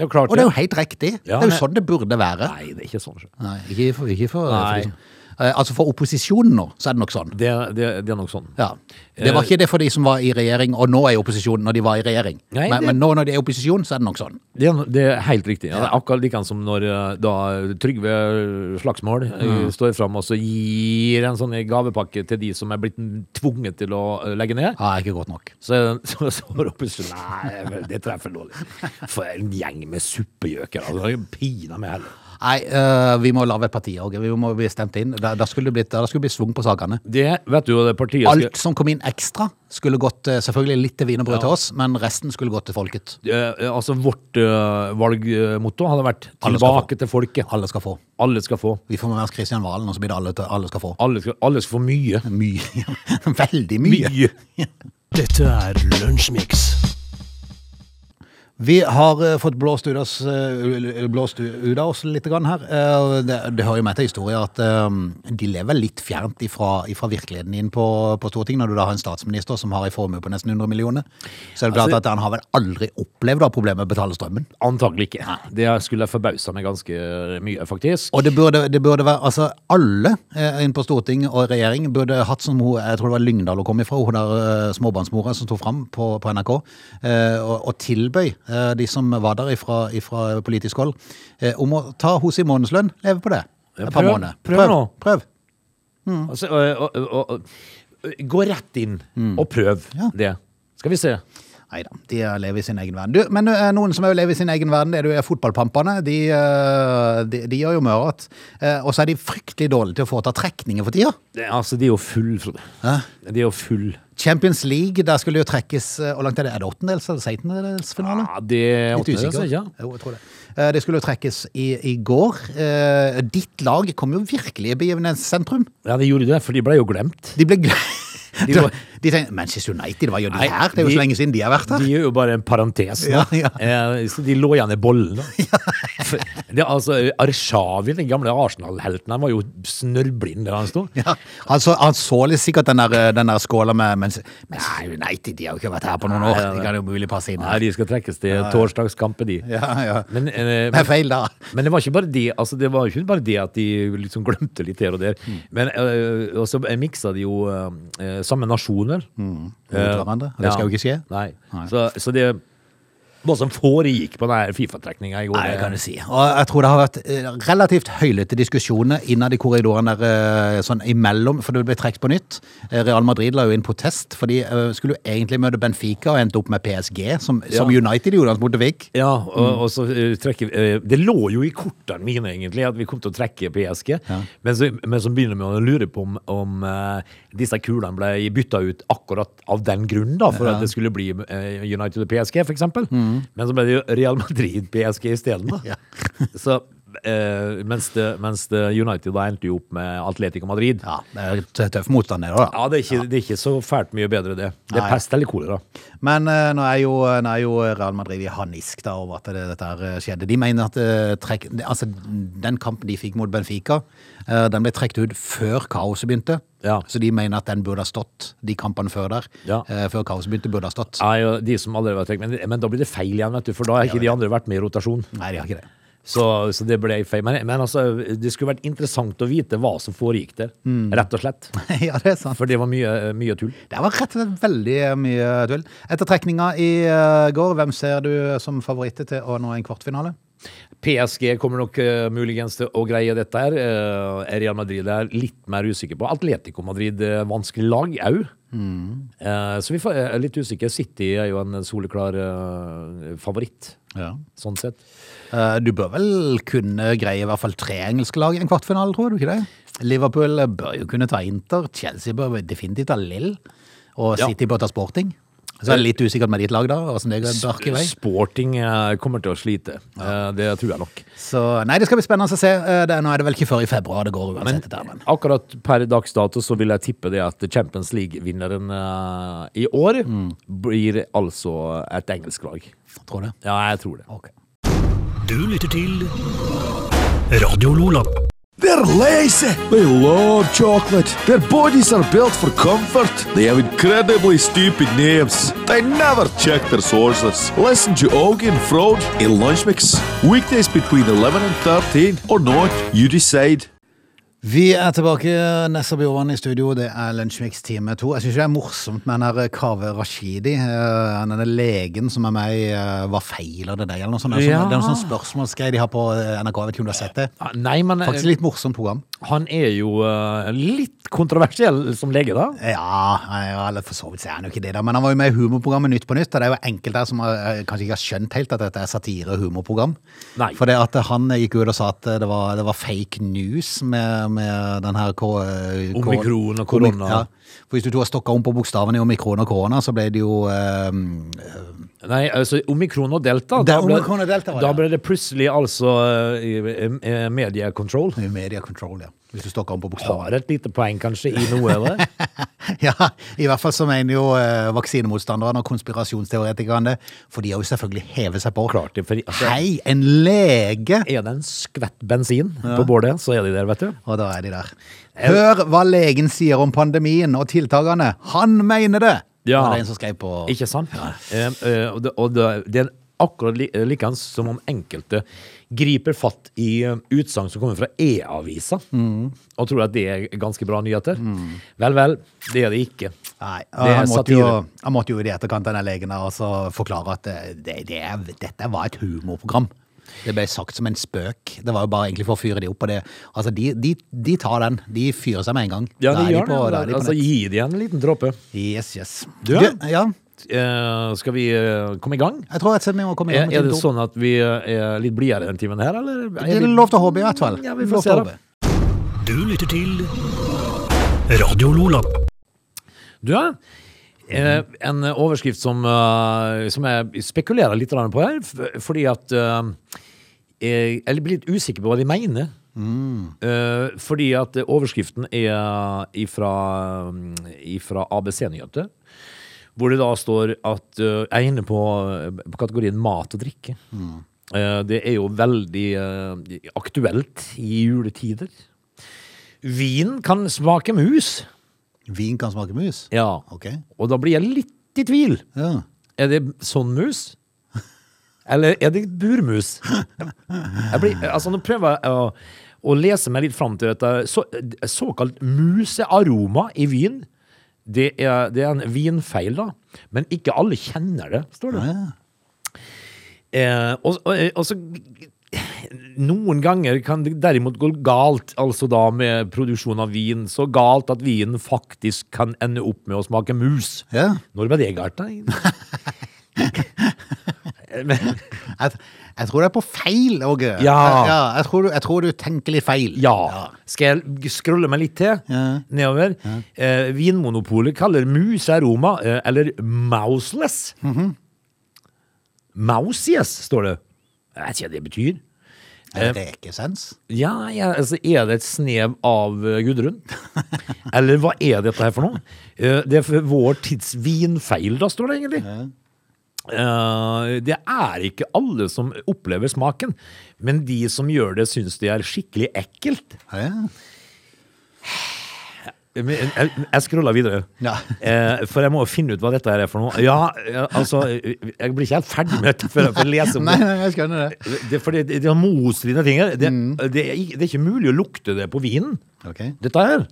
Speaker 3: Det er jo klart
Speaker 1: Og det er jo helt riktig.
Speaker 3: Ja,
Speaker 1: det er jo
Speaker 3: men-
Speaker 1: sånn det burde være.
Speaker 3: Nei, det er ikke sånn. sjø.
Speaker 1: Nei, ikke for, ikke for,
Speaker 3: Nei.
Speaker 1: for de som- Eh, Altså for opposisjonen nå, så er det nok sånn.
Speaker 3: Det, det, det er nok sånn.
Speaker 1: Ja. Det var ikke det for de som var i regjering, og nå er i opposisjon når de var i regjering.
Speaker 3: Nei,
Speaker 1: men,
Speaker 3: det-
Speaker 1: men nå når de er i opposisjon, så er det nok sånn.
Speaker 3: Det er, det er helt riktig. Ja, det er akkurat like som når eh, da Trygve Slagsmål eh, står fram og så gir en sånn gavepakke til de som er blitt tvunget til å eh, legge ned.
Speaker 1: Ja, ikke godt nok.
Speaker 3: Så er den- [LAUGHS] så står oppe og sier Nei, vel, det treffer dårlig. For en gjeng med suppegjøker. Altså, det er jo pina meg heller.
Speaker 1: Nei, eh, vi må lage et parti, Åge. Vi må bli stemt inn. Da, da skulle det blitt, da skulle det bli svung på sakene.
Speaker 3: Det vet du jo, det partiet skal-
Speaker 1: Alt som kom inn ekstra, skulle gått eh, selvfølgelig litt til wienerbrød
Speaker 3: Ja.
Speaker 1: til oss, men resten skulle gått til folket.
Speaker 3: eh, Altså, vårt eh, valgmotto hadde vært
Speaker 1: Alle skal
Speaker 3: 'Tilbake til folket'.
Speaker 1: Alle skal få.
Speaker 3: Alle skal få.
Speaker 1: Vi får med oss Kristian Valen, og så blir det alle, til- alle skal få. [LAUGHS]
Speaker 3: Alle skal, alle skal få mye.
Speaker 1: Mye. Veldig mye.
Speaker 3: Mye.
Speaker 2: Dette er Lunsjmix.
Speaker 1: Vi har eh, fått blåst ut, oss, eh, blåst ut av oss litt grann her. Eh, det, det hører jo med til historien at eh, de lever litt fjernt ifra, ifra virkeligheten din på, på Stortinget, når du da har en statsminister som har en formue på nesten 100 millioner. Så er det klart
Speaker 3: Altså-
Speaker 1: at han har vel aldri opplevd å ha problemer med å betale strømmen.
Speaker 3: Antagelig ikke. Det skulle forbausa meg ganske mye, faktisk.
Speaker 1: Og det burde, det burde være, altså alle eh, inn på Stortinget og regjering burde hatt som hun, jeg tror det var Lyngdal hun kom ifra, hun der eh, småbarnsmora som sto fram på, på NRK, eh, og, og tilbøy eh, de som var der ifra, ifra politisk hold, eh, om å ta hos i månedslønn, leve på det.
Speaker 3: Ja,
Speaker 1: Et par
Speaker 3: prøv-
Speaker 1: måneder.
Speaker 3: prøv
Speaker 1: prøv,
Speaker 3: nå.
Speaker 1: prøv.
Speaker 3: Altså, og, og, og, og, gå rett inn og prøv
Speaker 1: Mm. Ja.
Speaker 3: det. Skal vi se.
Speaker 1: Nei da, de lever i sin egen verden. Du, men eh, noen som òg lever i sin egen verden, det er jo fotballpampene. De, eh, de, de gjør jo mørat. Eh, Og så er de fryktelig dårlige til å foreta trekninger for tida.
Speaker 3: Det, altså, de er jo full, Frode.
Speaker 1: Hæ?
Speaker 3: De er jo full.
Speaker 1: Champions League, der skulle jo trekkes eh, Hvor langt er det? Er det åttendels eller sekstendelsfinale?
Speaker 3: Ja, det er altså,
Speaker 1: Litt
Speaker 3: åttendedels,
Speaker 1: usikker.
Speaker 3: ikke?
Speaker 1: Jo, jeg tror det. Eh, Det skulle jo trekkes i, i går. Eh, Ditt lag kom jo virkelig i begivenhetens sentrum.
Speaker 3: Ja, de gjorde det, for de ble jo glemt.
Speaker 1: De ble gle-
Speaker 3: De var-
Speaker 1: [LAUGHS] De tenkte Manchester United, hva gjør de
Speaker 3: Nei,
Speaker 1: her? Det er jo
Speaker 3: de-
Speaker 1: så lenge siden de har vært
Speaker 3: [LAUGHS]
Speaker 1: her.
Speaker 3: De er jo bare en parentes nå.
Speaker 1: Ja, ja.
Speaker 3: [LAUGHS] Eh, så de lå igjen i
Speaker 1: [LAUGHS]
Speaker 3: bollen. da. For Det, er altså, Arshavi, den gamle Arsenal-helten, han var jo snørrblind der han sto.
Speaker 1: Ja, han, så, han så litt sikkert den der, eh, den der skåla med Manchester Nei, United de har jo ikke vært her på noen år.
Speaker 3: Nei, nei,
Speaker 1: De kan jo mulig passe inn
Speaker 3: Nei,
Speaker 1: her.
Speaker 3: de skal trekkes til torsdagskamper, de.
Speaker 1: Ja, ja.
Speaker 3: Men, eh,
Speaker 1: Det er feil, da.
Speaker 3: Men det var ikke bare det, altså det var jo ikke bare det at de liksom glemte litt her og der.
Speaker 1: Mm.
Speaker 3: Men øh, og så miksa de jo øh, øh, samme nasjoner. Eh,
Speaker 1: Mot Mm. hverandre. Det skal jo ikke skje.
Speaker 3: Nei. Så, så det Hva som foregikk på denne Fifa-trekninga i går.
Speaker 1: Nei, det kan du si. Og jeg tror det har vært eh, relativt høylytte diskusjoner innad i korridorene der, eh, sånn imellom, for det ble trukket på nytt. Eh, Real Madrid la jo inn protest, for de eh, skulle jo egentlig møte Benfica og endte opp med PSG, som, som
Speaker 3: Ja.
Speaker 1: United i utgangspunktet fikk.
Speaker 3: Ja, og,
Speaker 1: Mm.
Speaker 3: og så øh, trekker vi øh, Det lå jo i kortene mine, egentlig, at vi kom til å trekke PSG. Men, så, men så begynner vi å lure på om, om øh, disse kulene ble bytta ut akkurat av den grunnen, da, for at det skulle bli øh, United og PSG, f.eks. eksempel Men så ble det jo Real Madrid-PSG isteden, da.
Speaker 1: Mm. [LAUGHS] Ja.
Speaker 3: [LAUGHS] så øh, mens, det, mens det United da endte jo opp med Atletico Madrid.
Speaker 1: Ja, det er tø- tøff motstand det da. da.
Speaker 3: Ja, det er, ikke, det er ikke så fælt mye bedre, det. Det
Speaker 1: Nei.
Speaker 3: er pest eller kolera.
Speaker 1: Men eh, nå er jo, nå er jo Real Madrid i harnisk da, over at det, dette her eh, skjedde. De mener at eh, trekk, altså, den kampen de fikk mot Benfica, eh, den ble trukket ut før kaoset begynte.
Speaker 3: Ja.
Speaker 1: Så de mener at den burde ha stått, de kampene før der,
Speaker 3: Ja.
Speaker 1: eh, før kaoset begynte, burde ha stått.
Speaker 3: Ja, ja, de som allerede var trekt, men, men da blir det feil igjen, vet du, for da har ikke de andre vært med i rotasjon.
Speaker 1: Nei, de har ikke det.
Speaker 3: Så, så det ble feil. Men, men altså, det skulle vært interessant å vite hva som foregikk der, rett og slett.
Speaker 1: ja, det [LAUGHS] er sant.
Speaker 3: For det var mye, mye tull.
Speaker 1: Det var rett og slett veldig eh, mye tull. Etter trekninga i eh, går, hvem ser du som favoritter til å nå en kvartfinale?
Speaker 3: PSG kommer nok eh, muligens til å greie dette her. Eh, Real Madrid er litt mer usikker på. Atletico Madrid er vanskelig lag au. Eh, så vi får- er litt usikre. City er jo en soleklar eh, favoritt, sånn sett.
Speaker 1: Eh, Du bør vel kunne greie i hvert fall tre engelske lag i en kvartfinale, tror du ikke det? Liverpool eh, bør jo kunne ta Inter, Chelsea bør definitivt ta Lill, og
Speaker 3: Ja.
Speaker 1: City bør ta Sporting. Så er det litt usikkert med ditt lag, da, hvordan det går bark i vei.
Speaker 3: Sporting eh, kommer til å slite. Eh, det tror jeg nok.
Speaker 1: Så nei, det skal bli spennende å se. Eh, Det, er- nå er det vel ikke før i februar det går uansett. dette her, men.
Speaker 3: Akkurat per dags dato så vil jeg tippe det at Champions League-vinneren eh, i år
Speaker 1: Mm.
Speaker 3: blir altså et engelsk lag.
Speaker 1: Tror du?
Speaker 3: Ja, jeg tror det.
Speaker 1: Ok.
Speaker 2: Du lytter til Radio Lola.
Speaker 4: They're lazy. They love chocolate. Their bodies are built for comfort. They have incredibly stupid names. They never check their sources. Listen to Augie and Frode in Lunch Mix. Weekdays between 11 and 13 or not, you decide.
Speaker 1: Vi er tilbake, Nessa Bjorvann i studio. Det er Lunsjmix time to. Jeg syns det er morsomt med den her Kaveh Rashidi, eh, denne legen som er med i eh, Hva feiler det deg, eller noe sånt. Det er
Speaker 3: Ja.
Speaker 1: sånn- det er noe sånn spørsmålsgreie de har på eh, NRK. Jeg vet ikke om du har sett det?
Speaker 3: Ah, Nei, men eh,
Speaker 1: Faktisk litt morsomt program.
Speaker 3: han er jo eh, litt kontroversiell som lege, da.
Speaker 1: Ja, ja, eller for så vidt så er han jo ikke det, da. Men han var jo med i humorprogrammet Nytt på Nytt, og det er jo enkelte her som har, eh, kanskje ikke har skjønt helt at dette er satire- og humorprogram.
Speaker 3: Nei.
Speaker 1: For det at han gikk ut og sa at det var, det var fake news med, med den her ko- eh, ko-
Speaker 3: Omikron og
Speaker 1: komik-
Speaker 3: korona.
Speaker 1: Ja. For hvis du to har stokka om på bokstavene i omikron og korona, så ble det jo eh,
Speaker 3: Nei, altså omikron og delta.
Speaker 1: Det er
Speaker 3: da ble-
Speaker 1: omikron og delta, var det.
Speaker 3: Da ble det plutselig altså eh, i- eh, mediekontroll.
Speaker 1: media control, ja. Hvis du stokker om på bokstavene.
Speaker 3: Har et lite poeng kanskje i
Speaker 1: [LAUGHS]
Speaker 3: noe, eller?
Speaker 1: Ja, I hvert fall så mener jo eh, vaksinemotstanderne og konspirasjonsteoretikerne det. For de har jo selvfølgelig hevet seg på.
Speaker 3: Klart altså- det, for de-
Speaker 1: Hei, en lege!
Speaker 3: Er det en skvett bensin på bålet, så er de der, vet du.
Speaker 1: Og da er de der. Hør hva legen sier om pandemien og tiltakene. Han mener det!
Speaker 3: Ja.
Speaker 1: Var det en som skrev på
Speaker 3: Ikke sant? Eh, eh, og det, og det, det er akkurat li, likeens som om enkelte griper fatt i eh, utsagn som kommer fra E-avisa, og tror at det er ganske bra nyheter. Vel, vel, det er det ikke.
Speaker 1: Nei, og
Speaker 3: det er
Speaker 1: han måtte, jo,
Speaker 3: satire.
Speaker 1: han måtte jo i etterkant denne legen her også forklare at eh, det, det er, dette var et humorprogram. Det ble sagt som en spøk. Det var jo bare egentlig for å fyre de opp. Og det, altså de, de, de tar den. De fyrer seg med en gang.
Speaker 3: Ja,
Speaker 1: Da
Speaker 3: det
Speaker 1: er
Speaker 3: gjør
Speaker 1: på,
Speaker 3: det.
Speaker 1: da er de på
Speaker 3: altså,
Speaker 1: nett.
Speaker 3: gi det en liten dråpe.
Speaker 1: Yes, yes.
Speaker 3: Du, ja.
Speaker 1: Du, ja.
Speaker 3: Eh, skal vi eh, komme i gang?
Speaker 1: Jeg tror jeg vi må komme
Speaker 3: Er,
Speaker 1: igjen
Speaker 3: er
Speaker 1: med
Speaker 3: det
Speaker 1: time to.
Speaker 3: sånn at vi eh, er litt blidere den timen her, eller?
Speaker 1: Det er lov til å håpe, i hvert fall.
Speaker 3: Ja, vi får
Speaker 1: Lov
Speaker 3: se
Speaker 1: til å
Speaker 3: da.
Speaker 1: håpe.
Speaker 2: Du lytter til Radio Lola.
Speaker 3: Du, ja. Eh, en overskrift som, eh, som jeg spekulerer litt grann på her, f- fordi at eh, eh, Jeg blir litt usikker på hva de mener. Eh, fordi at eh, overskriften er ifra, ifra ABC Nyheter, hvor det da står at eh, Jeg er inne på, på kategorien mat og drikke. Eh, det er jo veldig eh, aktuelt i juletider. Vin kan smake mus.
Speaker 1: Vin kan smake mus.
Speaker 3: Ja.
Speaker 1: Ok.
Speaker 3: Og da blir jeg litt i tvil.
Speaker 1: Ja.
Speaker 3: Er det sånn mus? Eller er det burmus? Jeg blir, altså, nå prøver jeg å, å lese meg litt fram til dette. Så, såkalt musearoma i vin. Det er, det er en vinfeil, da. Men ikke alle kjenner det, står det.
Speaker 1: Ja.
Speaker 3: Eh, og, og, og så Noen ganger kan det derimot gå galt, altså da med produksjon av vin. Så galt at vinen faktisk kan ende opp med å smake mus.
Speaker 1: Ja.
Speaker 3: Når ble det galt, da?
Speaker 1: [LAUGHS]
Speaker 3: Men,
Speaker 1: Jeg, jeg tror det er på feil, Åge.
Speaker 3: Ja.
Speaker 1: ja jeg, tror du, jeg tror du tenker litt feil.
Speaker 3: ja. Skal jeg g- scrolle meg litt til?
Speaker 1: Ja.
Speaker 3: Nedover. Eh, vinmonopolet kaller mus aroma, eh, eller mouseless.
Speaker 1: Mhm.
Speaker 3: Mousies, står det. Jeg vet ikke hva det betyr.
Speaker 1: Er det rekesens?
Speaker 3: Ja, ja, altså er det et snev av eh,
Speaker 1: [LAUGHS]
Speaker 3: Gudrun? Eller hva er dette her for noe? Eh, Det er for vår tids vinfeil, da, står det egentlig. Eh, Det er ikke alle som opplever smaken, men de som gjør det, syns det er skikkelig ekkelt.
Speaker 1: Ja.
Speaker 3: Men eh, Jeg, jeg scroller videre,
Speaker 1: Ja.
Speaker 3: Eh, for jeg må finne ut hva dette her er for noe. Ja, eh, altså, jeg blir ikke helt ferdig med dette før jeg får lese om
Speaker 1: [LAUGHS] Nei,
Speaker 3: det.
Speaker 1: nei, jeg skjønner det.
Speaker 3: Det, for det, det, det er motstridende ting her. Det,
Speaker 1: Mm.
Speaker 3: det, er, ikke- det er ikke mulig å lukte det på vinen,
Speaker 1: Ok.
Speaker 3: dette her.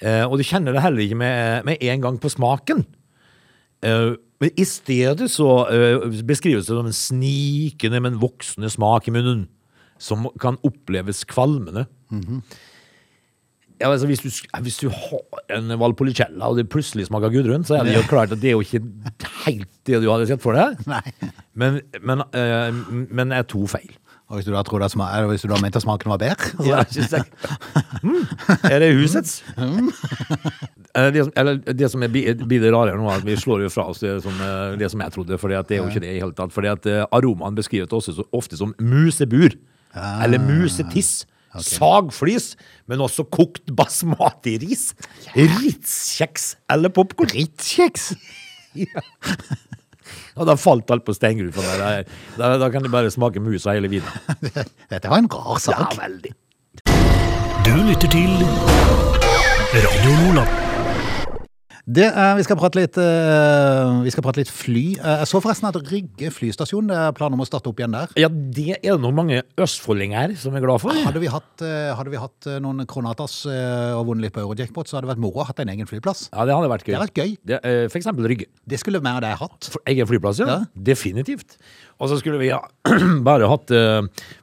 Speaker 3: Eh, og du kjenner det heller ikke med, med en gang på smaken. Eh, men I stedet så eh, beskrives det som en snikende, men voksende smak i munnen, som kan oppleves kvalmende. ja, altså, hvis, du, sk- hvis du har en Valpolicella, og det plutselig smaker Gudrun, så er det jo klart at det er jo ikke helt det du hadde sett for deg.
Speaker 1: Nei.
Speaker 3: Men, men, eh, men jeg tok feil.
Speaker 1: Og hvis du da, tror det sma- eller hvis du da mente at smaken var bedre? så-
Speaker 3: Ja, ikke sant? mm. Er det husets? Eh, Det som, eller det som er bi- blir det rarere nå, er at vi slår jo fra oss det som, eh, det som jeg trodde. For det er jo ikke det i hele tatt. For aromaen beskrives også så ofte som musebur. Eller musetiss. Sagflis, men også kokt basmati-ris. Ritz-kjeks eller popkorn.
Speaker 1: [LAUGHS] Rittkjeks!
Speaker 3: Og da falt alt på steingrunn for meg. Da, da, da kan det bare smake mus av hele vinen.
Speaker 1: Dette var en rar sak.
Speaker 3: veldig.
Speaker 2: Du lytter til Radio Lola.
Speaker 1: Det er, vi, skal prate litt, eh, vi skal prate litt fly. Eh, jeg så forresten at Rygge flystasjon, det er planer om å starte opp igjen der.
Speaker 3: Ja, det er det nok mange østfoldinger her som er glad for.
Speaker 1: Hadde vi hatt, eh, hadde vi hatt eh, noen Kronatas eh, og vunnet litt på Eurojackpot, så hadde det vært moro å ha hatt en egen flyplass.
Speaker 3: Ja, det hadde vært gøy.
Speaker 1: Det hadde vært gøy.
Speaker 3: Det, eh, for eksempel Rygge.
Speaker 1: Det skulle vi og deg hatt.
Speaker 3: For Egen flyplass, ja.
Speaker 1: Ja.
Speaker 3: Definitivt. Og så skulle vi ha [CLEARS THROAT] bare hatt eh,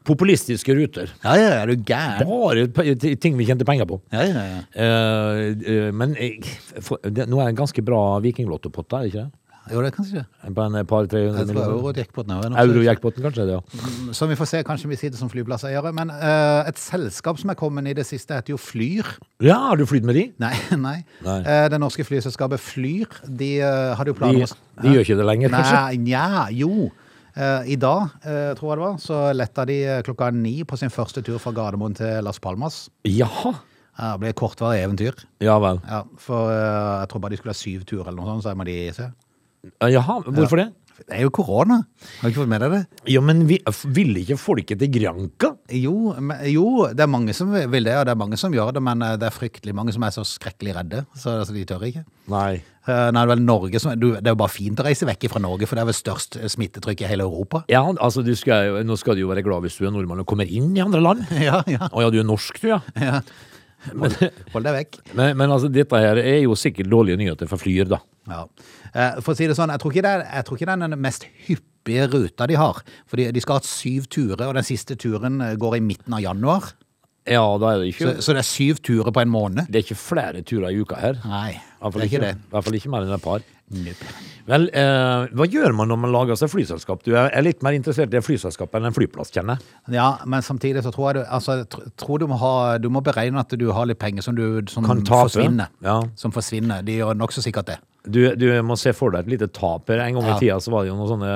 Speaker 3: populistiske ruter.
Speaker 1: Ja, ja, ja, er du gæren?
Speaker 3: Bare p- t- ting vi tjente penger på.
Speaker 1: Ja, ja, ja.
Speaker 3: Eh, eh, men jeg, for, det, nå er det en ganske bra vikinglotto-pott der, ikke det?
Speaker 1: Jo, det kan si det.
Speaker 3: På en par-tre
Speaker 1: Jeg tror
Speaker 3: hundre millioner.
Speaker 1: Eurojackpoten er noe.
Speaker 3: Euro-jackpoten, kanskje? det, ja.
Speaker 1: Så vi får se, kanskje vi sitter som flyplasseiere. Men eh, et selskap som er kommet i det siste, heter jo Flyr.
Speaker 3: ja, har du flydd med de?
Speaker 1: Nei, [LAUGHS] nei.
Speaker 3: Nei.
Speaker 1: Eh, det norske flyselskapet Flyr, de eh, hadde jo
Speaker 3: De,
Speaker 1: planer om å-
Speaker 3: de gjør ikke det lenger, kanskje?
Speaker 1: Nei, nja, jo. Eh, I dag, eh, tror jeg det var, så letta de eh, klokka ni på sin første tur fra Gardermoen til Las Palmas.
Speaker 3: Jaha.
Speaker 1: Ja, det ble et kortvarig eventyr.
Speaker 3: Ja vel.
Speaker 1: Ja, for eh, jeg tror bare de skulle ha syv turer eller noe sånt, så jeg må de se.
Speaker 3: Eh, Jaha, hvorfor det?
Speaker 1: Det er jo korona. Har du ikke fått med deg det?
Speaker 3: Ja, men vi, ville ikke folket til Granca?
Speaker 1: Jo, men, jo, det er mange som vil det, og det er mange som gjør det, men eh, det er fryktelig mange som er så skrekkelig redde, så altså, de tør ikke.
Speaker 3: Nei.
Speaker 1: Eh, Nei, det er vel Norge som du, Det er jo bare fint å reise vekk fra Norge, for det er vel størst eh, smittetrykk i hele Europa. [LAUGHS]
Speaker 3: Ja, altså, du skal, jo- nå skal du jo være glad hvis du er nordmann og kommer inn i andre land.
Speaker 1: Ja, ja.
Speaker 3: Å ja, du er norsk, du, ja.
Speaker 1: ja. Hold, hold deg vekk.
Speaker 3: Men, men altså, dette her er jo sikkert dårlige nyheter for flyer, da.
Speaker 1: Ja. Eh, For å si det sånn, jeg tror ikke det er, jeg tror ikke det er den mest hyppige ruta de har. For de, de skal ha syv turer, og den siste turen eh, går i midten av januar.
Speaker 3: Ja, da er det
Speaker 1: Så,
Speaker 3: ikke
Speaker 1: så det er syv turer på en måned.
Speaker 3: Det er ikke flere turer i uka her.
Speaker 1: Nei,
Speaker 3: I hvert
Speaker 1: det
Speaker 3: fall
Speaker 1: er ikke det.
Speaker 3: I hvert fall ikke mer enn et par.
Speaker 1: Nope.
Speaker 3: Vel, eh, hva gjør man når man lager seg flyselskap? Du jeg er litt mer interessert i et flyselskap enn en flyplass, kjenner jeg.
Speaker 1: Ja, men samtidig så tror jeg du, altså, jeg tr- tror du, må, ha, du må beregne at du har litt penger som, du, som
Speaker 3: Kan tape,
Speaker 1: forsvinner.
Speaker 3: ja.
Speaker 1: Som forsvinner. De gjør nokså sikkert det.
Speaker 3: Du, du må se for deg et lite taper. En gang
Speaker 1: Ja.
Speaker 3: i tida så var det jo noen sånne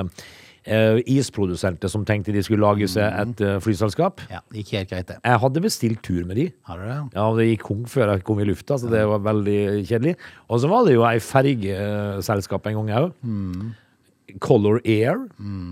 Speaker 3: eh, isprodusenter som tenkte de skulle lage seg et eh, flyselskap.
Speaker 1: Mm. Ja, det gikk helt greit, det.
Speaker 3: Jeg hadde bestilt tur med de.
Speaker 1: Har du det?
Speaker 3: Ja, og det gikk kong før jeg kom i lufta, så det var veldig kjedelig. Og så var det jo ei fergeselskap en gang òg. Color Air.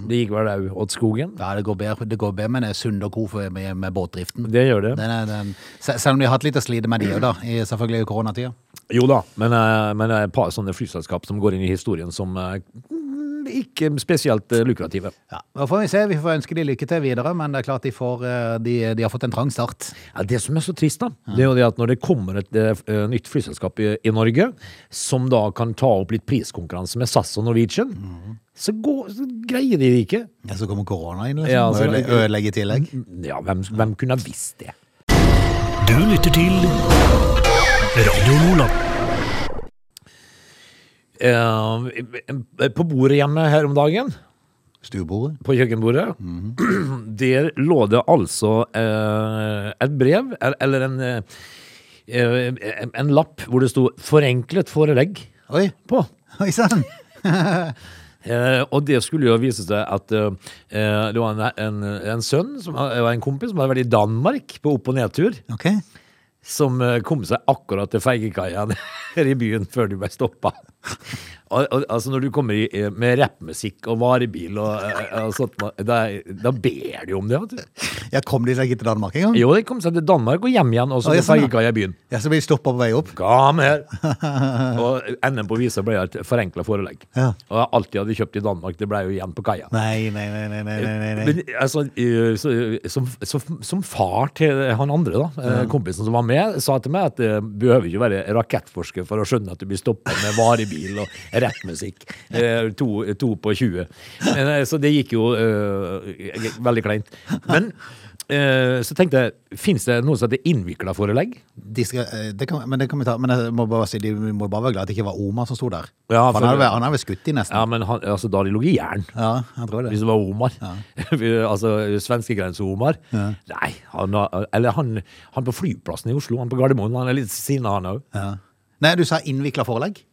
Speaker 3: Det gikk vel òg åt skogen.
Speaker 1: Ja, det går bedre, det går bedre men det er Sund og Co. for- med, med båtdriften.
Speaker 3: Det gjør det.
Speaker 1: Den er, den, se- selv om de har hatt litt å slite med de òg, da, i, selvfølgelig i koronatida.
Speaker 3: Jo da, men, eh, men det er et par sånne flyselskap som går inn i historien som eh, mm, ikke spesielt eh, lukrative.
Speaker 1: Ja, da får vi se. Vi får ønske de lykke til videre, men det er klart de, får, eh, de, de har fått en trang start.
Speaker 3: Ja, det som er så trist, da, det er jo det at når det kommer et eh, f- eh, nytt flyselskap i, i Norge, som da kan ta opp litt priskonkurranse med SAS og Norwegian, så, går, så greier de det ikke.
Speaker 1: Ja, Så kommer korona inn, liksom.
Speaker 3: Ja, altså, så-
Speaker 1: Ødele- Ødelegge i tillegg.
Speaker 3: Ja, hvem, hvem kunne ha visst det?
Speaker 2: Du lytter til Radio Lola.
Speaker 3: Eh, på bordet hjemme her om dagen,
Speaker 1: Stuebordet.
Speaker 3: på kjøkkenbordet, [CLEARS THROAT] der lå det altså eh, et brev, el- eller en, eh, eh, en lapp hvor det sto 'forenklet forelegg'
Speaker 1: Oi,
Speaker 3: på.
Speaker 1: oi sann!
Speaker 3: Eh, og det skulle jo vise seg at eh, eh, det var en, en, en sønn som, eh, og en kompis som hadde vært i Danmark på opp- og nedtur,
Speaker 1: Ok.
Speaker 3: som eh, kom seg akkurat til fergekaia her i byen før du ble stoppa. Al al altså Når du kommer i, eh, med rappmusikk og varebil og, eh, og sånt, da, da ber du om det. vet du.
Speaker 1: Ja, Kom de seg ikke til Danmark engang?
Speaker 3: Jo, de kom seg til Danmark og hjem igjen, og så
Speaker 1: Å, ja,
Speaker 3: til
Speaker 1: sånn, ja.
Speaker 3: fergekaia i byen.
Speaker 1: Ja, så blir de stoppa på vei opp?
Speaker 3: Kom her! Og enden på visa ble et forenkla forelegg.
Speaker 1: Ja.
Speaker 3: Og alt jeg hadde kjøpt i Danmark, det ble jo igjen på kaia.
Speaker 1: Nei, nei, nei, nei, nei, nei, nei, nei.
Speaker 3: Men altså, eh, så, som, som, som far til han andre, da, eh, kompisen som var med, sa til meg at eh, behøver ikke være rakettforsker for å skjønne at du blir stoppa med varebil og rappmusikk. eh, To, to på 20. Men, eh, så det gikk jo eh, veldig kleint. Men eh, så tenkte jeg, fins det noe som heter innvikla forelegg?
Speaker 1: De skal, eh, det kan, men det kan vi ta. Men jeg må bare si, de må bare være glad at det ikke var Omar som sto der.
Speaker 3: Ja,
Speaker 1: for
Speaker 3: for-
Speaker 1: han, hadde, han hadde skutt de nesten.
Speaker 3: Ja, men han, altså, da har de ligget i jern.
Speaker 1: Ja, jeg tror det.
Speaker 3: Hvis det var Omar. [LAUGHS] altså svenskegrense-Omar. Nei, han, har- eller han, han på flyplassen i Oslo, han på Gardermoen, han er litt sinna, han òg.
Speaker 1: Ja. Nei, du sa innvikla forelegg?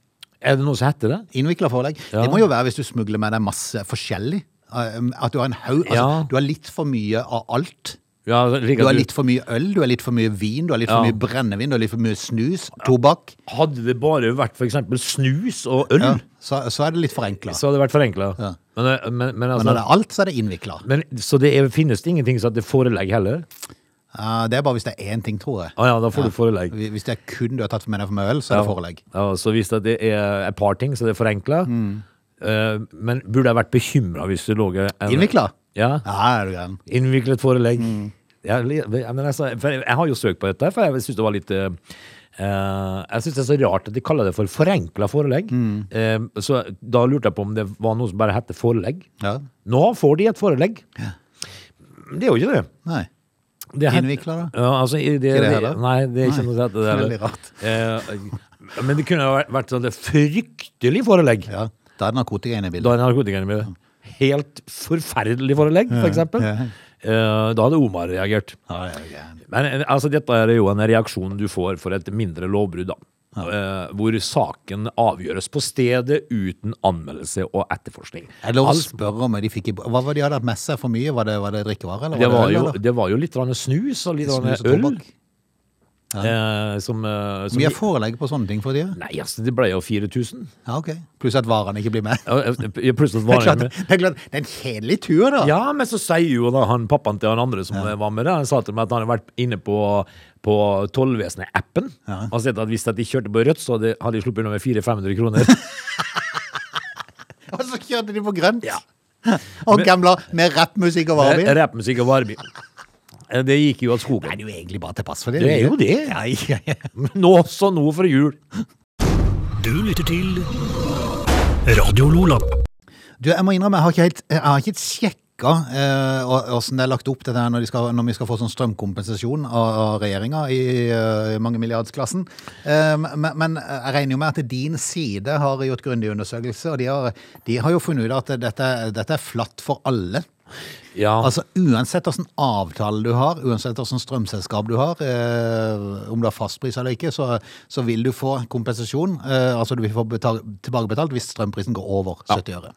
Speaker 3: Er det noe som heter det?
Speaker 1: Innvikla forelegg.
Speaker 3: Ja.
Speaker 1: Det må jo være hvis du smugler med deg masse forskjellig. Eh, At du har en haug altså,
Speaker 3: Ja.
Speaker 1: Du har litt for mye av alt.
Speaker 3: Ja, slik
Speaker 1: Du
Speaker 3: at
Speaker 1: har
Speaker 3: du-
Speaker 1: litt for mye øl, du har litt for mye vin, du har litt for
Speaker 3: Ja.
Speaker 1: mye brennevin, du har litt for mye snus, tobakk.
Speaker 3: Hadde det bare vært for eksempel snus og øl,
Speaker 1: Ja. Så, så er det litt forenkla.
Speaker 3: så hadde det vært forenkla.
Speaker 1: Ja.
Speaker 3: Men, men, men,
Speaker 1: Men når
Speaker 3: altså,
Speaker 1: det er alt, så er det innvikla.
Speaker 3: men, så det er, finnes det ingenting som heter forelegg heller?
Speaker 1: Eh, Det er bare hvis det er én ting, tror jeg.
Speaker 3: Å ja, da får du forelegg.
Speaker 1: Hvis hvis det er kun du har tatt for med deg for mye øl, så er det forelegg.
Speaker 3: Ja, så hvis det er et par ting, så det er forenkla.
Speaker 1: Mm.
Speaker 3: Eh, men burde jeg vært bekymra hvis du lå en-
Speaker 1: Innvikla?
Speaker 3: Ja.
Speaker 1: Ja, er du gæren.
Speaker 3: Innviklet forelegg.
Speaker 1: Mm.
Speaker 3: Jeg, jeg, men altså, for jeg, jeg har jo søkt på dette, for jeg syns det var litt eh, eh, Jeg syns det er så rart at de kaller det for forenkla forelegg.
Speaker 1: Mm.
Speaker 3: Eh, så da lurte jeg på om det var noe som bare hette forelegg.
Speaker 1: Ja.
Speaker 3: Nå får de et forelegg. Det er jo ikke det.
Speaker 1: Nei.
Speaker 3: Det het-
Speaker 1: Innvikla, da?
Speaker 3: Ja, altså, i- det,
Speaker 1: Ikke det
Speaker 3: det
Speaker 1: heller?
Speaker 3: Nei, det er ikke
Speaker 1: Nei,
Speaker 3: noe sånt.
Speaker 1: veldig rart.
Speaker 3: Eh, men det kunne jo vært- vært sånn det fryktelig forelegg.
Speaker 1: Ja. Da er det narkotika inne i
Speaker 3: Da
Speaker 1: bildet.
Speaker 3: er narkotikaen i bildet. Helt forferdelig forelegg, for eksempel.
Speaker 1: ja.
Speaker 3: Eh, da hadde Omar reagert.
Speaker 1: Ja, er du gæren.
Speaker 3: Men eh, altså, dette er jo en reaksjon du får for et mindre lovbrudd, da. Eh, hvor saken avgjøres på stedet uten anmeldelse og etterforskning.
Speaker 1: Er det lov å
Speaker 3: Alt-
Speaker 1: spørre om hva de fikk i Hva var det de hadde hatt med seg for mye? Var det, var det drikkevarer, eller?
Speaker 3: det, var
Speaker 1: øl,
Speaker 3: jo,
Speaker 1: eller?
Speaker 3: det var jo litt grann snus og litt grann
Speaker 1: Snus og
Speaker 3: øl.
Speaker 1: tobakk?
Speaker 3: eh, som, eh, som
Speaker 1: Mye forelegg på sånne ting for tida?
Speaker 3: Nei, altså, det ble jo 4000.
Speaker 1: Ja, ok. Pluss at varene ikke blir med.
Speaker 3: Ja, eh, jeg- Plutselig
Speaker 1: Det [LAUGHS]
Speaker 3: var
Speaker 1: er
Speaker 3: jeg
Speaker 1: klart,
Speaker 3: med.
Speaker 1: det er, klart, det er en kjedelig tur, da.
Speaker 3: Ja, men så sier jo da han pappaen til han andre som var med, der, han sa til meg at han hadde vært inne på, på Tollvesenet-appen og sett at hvis at de kjørte på rødt, så hadde, hadde de sluppet unna med 400-500 kroner.
Speaker 1: Og så kjørte de på grønt!
Speaker 3: Ja.
Speaker 1: [LAUGHS] Og gamla med rappmusikk og varebil.
Speaker 3: Med Rappmusikk og varebil. Eh, Det gikk jo av skogen.
Speaker 1: Det er jo egentlig bare til pass for det.
Speaker 3: Det er jo det.
Speaker 1: [LAUGHS]
Speaker 3: Nå også nå for jul.
Speaker 2: Du lytter til Radio Lola.
Speaker 1: Du, jeg må innrømme, jeg har ikke helt, jeg har ikke helt sjekka eh, og- hvordan det er lagt opp dette her når, de skal, når vi skal få sånn strømkompensasjon av, av regjeringa i eh, mangemilliardsklassen. Eh, men, men jeg regner jo med at din side har gjort grundig undersøkelse, og de har, de har jo funnet ut at dette, dette er flatt for alle.
Speaker 3: Ja.
Speaker 1: Altså Uansett hvilken avtale du har, uansett hvilket strømselskap du har, eh, om du har fastpris eller ikke, så, så vil du få kompensasjon. Eh, altså du vil få betal, tilbakebetalt hvis strømprisen går over 70 øre.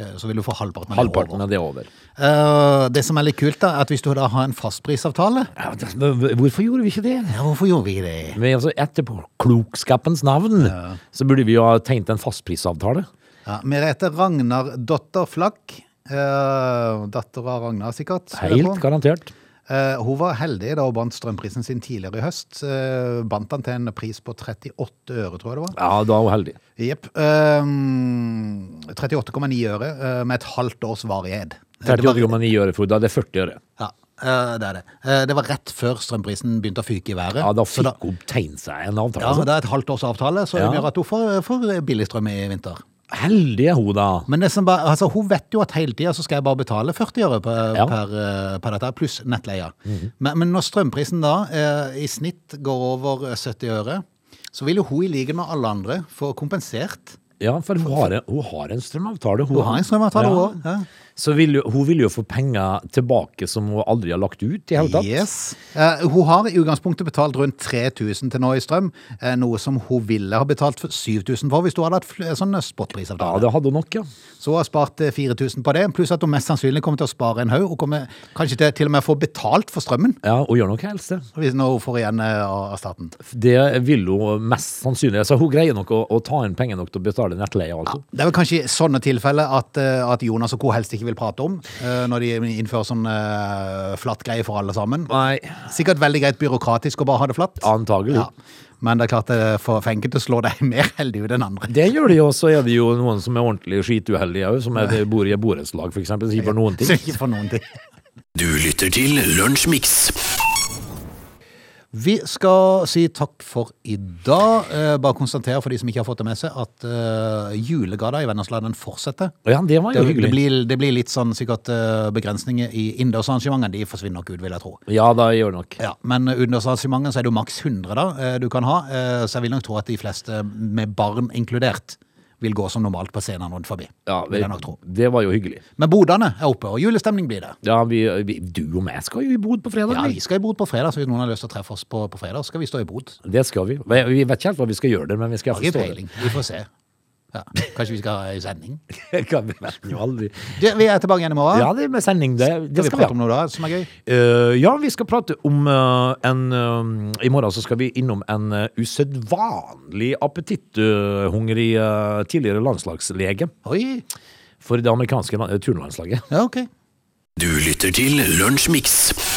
Speaker 1: Eh, Så vil du få halvparten av det
Speaker 3: Halvparten
Speaker 1: over.
Speaker 3: av det er over.
Speaker 1: Eh, det som er litt kult, da, er at hvis du da har en fastprisavtale
Speaker 3: Ja, det- men Hvorfor gjorde vi ikke det?
Speaker 1: Ja, hvorfor gjorde vi det?
Speaker 3: Men altså, etterpåklokskapens navn, så burde vi jo ha tegnet en fastprisavtale.
Speaker 1: Ja, Merete Ragnar-dotter Flakk. Uh, Datter av Ragnar, sikkert. spiller
Speaker 3: Helt
Speaker 1: på.
Speaker 3: garantert.
Speaker 1: Eh, hun var heldig da hun bandt strømprisen sin tidligere i høst. Eh, bandt den til en pris på 38 øre, tror jeg det var.
Speaker 3: Ja, da er hun heldig.
Speaker 1: Jepp. Ehm, 38,9 øre eh, med et halvt års varighet. Eh, det var-
Speaker 3: 38,9 øre for da er det 40 øre.
Speaker 1: Ja, eh, det er det. Eh, det var rett før strømprisen begynte å fyke i været.
Speaker 3: Ja, da
Speaker 1: så da,
Speaker 3: fikk hun tegnet seg en avtale.
Speaker 1: ja,
Speaker 3: altså.
Speaker 1: det er et halvt års avtale, så det
Speaker 3: Ja.
Speaker 1: gjør at hun får, får billig strøm i vinter.
Speaker 3: Heldig er hun da.
Speaker 1: Men det som bare, altså, hun vet jo at hele tida så skal jeg bare betale 40 øre per,
Speaker 3: Ja. Mhm.
Speaker 1: per, eh, per dette, pluss nettleia. men, men når strømprisen da eh, i snitt går over 70 øre, så vil jo hun i likhet med alle andre få kompensert.
Speaker 3: Ja, for hun har, en- hun har en strømavtale.
Speaker 1: Hun har en strømavtale, hun også, ja.
Speaker 3: Så vil, jo- hun vil jo få penger tilbake som hun aldri har lagt ut i hele tatt.
Speaker 1: Yes. Eh, hun har i utgangspunktet betalt rundt 3000 til nå i strøm, eh, noe som hun ville ha betalt for 7000 for hvis hun hadde hatt fl- sånn
Speaker 3: Ja,
Speaker 1: spotprisavtale.
Speaker 3: det hadde hun nok, ja.
Speaker 1: Så hun har spart eh, 4000 på det, pluss at hun mest sannsynlig kommer til å spare en haug, og kommer kanskje til, til og med få betalt for strømmen.
Speaker 3: Ja, Hun gjør nok helst det.
Speaker 1: Hvis når hun får igjen eh, av av staten.
Speaker 3: Det vil hun mest sannsynlig. Altså, hun greier nok å, å ta inn penger nok til å betale nettleie, altså.
Speaker 1: Det er vel kanskje i sånne tilfeller at, eh, at Jonas og co. helst ikke vil prate om, eh, når de innfører sånn eh, flatt greie for alle sammen.
Speaker 3: Nei,
Speaker 1: Sikkert veldig greit byråkratisk å bare ha det flatt.
Speaker 3: antagelig.
Speaker 1: Ja. Men det er klart, eh, for for enkelte slår deg [LAUGHS] mer heldig ut enn andre.
Speaker 3: Det gjør de jo, så er det jo noen som er ordentlig skituheldige òg, som er, bor i et borettslag, f.eks. Som ikke får noen ting.
Speaker 1: Så ikke for noen ting.
Speaker 2: Du lytter til Lunsjmix.
Speaker 1: Vi skal si takk for i dag. Eh, Bare konstatere for de som ikke har fått det med seg, at eh, julegada i Vennesland fortsetter.
Speaker 3: Ja, det var
Speaker 1: Det,
Speaker 3: jo hyggelig.
Speaker 1: det, blir, det blir litt sånn sikkert eh, begrensninger i innendørsarrangementene. De forsvinner nok ut, vil jeg tro.
Speaker 3: Ja, da gjør det nok.
Speaker 1: Ja, Men utendørsarrangementer så er det jo maks 100 da, eh, du kan ha, eh, så jeg vil nok tro at de fleste eh, med barn inkludert vil gå som normalt på scenen rundt forbi.
Speaker 3: Ja,
Speaker 1: vil jeg nok tro.
Speaker 3: det var jo hyggelig.
Speaker 1: Men bodene er oppe, og julestemning blir det.
Speaker 3: Ja, vi, vi, du og meg skal jo i bod på fredag.
Speaker 1: Ja,
Speaker 3: vi.
Speaker 1: Vi skal i bod på fredag, så hvis noen har lyst til å treffe oss på, på fredag, så skal vi stå i bod.
Speaker 3: Det skal vi. Vi vi vet ikke helt hva vi skal gjøre det, men vi skal
Speaker 1: Har ikke
Speaker 3: forstå det.
Speaker 1: peiling, vi får se. Ja, kanskje vi skal ha en sending?
Speaker 3: Det kan vi vet jo aldri.
Speaker 1: Du, vi er tilbake igjen i morgen.
Speaker 3: Ja, det er med sending, det.
Speaker 1: skal
Speaker 3: Ah. det
Speaker 1: vi
Speaker 3: skal vi
Speaker 1: prate
Speaker 3: ha.
Speaker 1: om noe da som er gøy?
Speaker 3: Eh, ja, vi skal prate om eh, en eh, I morgen så skal vi innom en uh, usedvanlig appetitthungrig eh, tidligere landslagslege
Speaker 1: Oi!
Speaker 3: for det amerikanske la- eh, turnlandslaget.
Speaker 1: Ja, ok.
Speaker 2: Du lytter til Lunsjmix.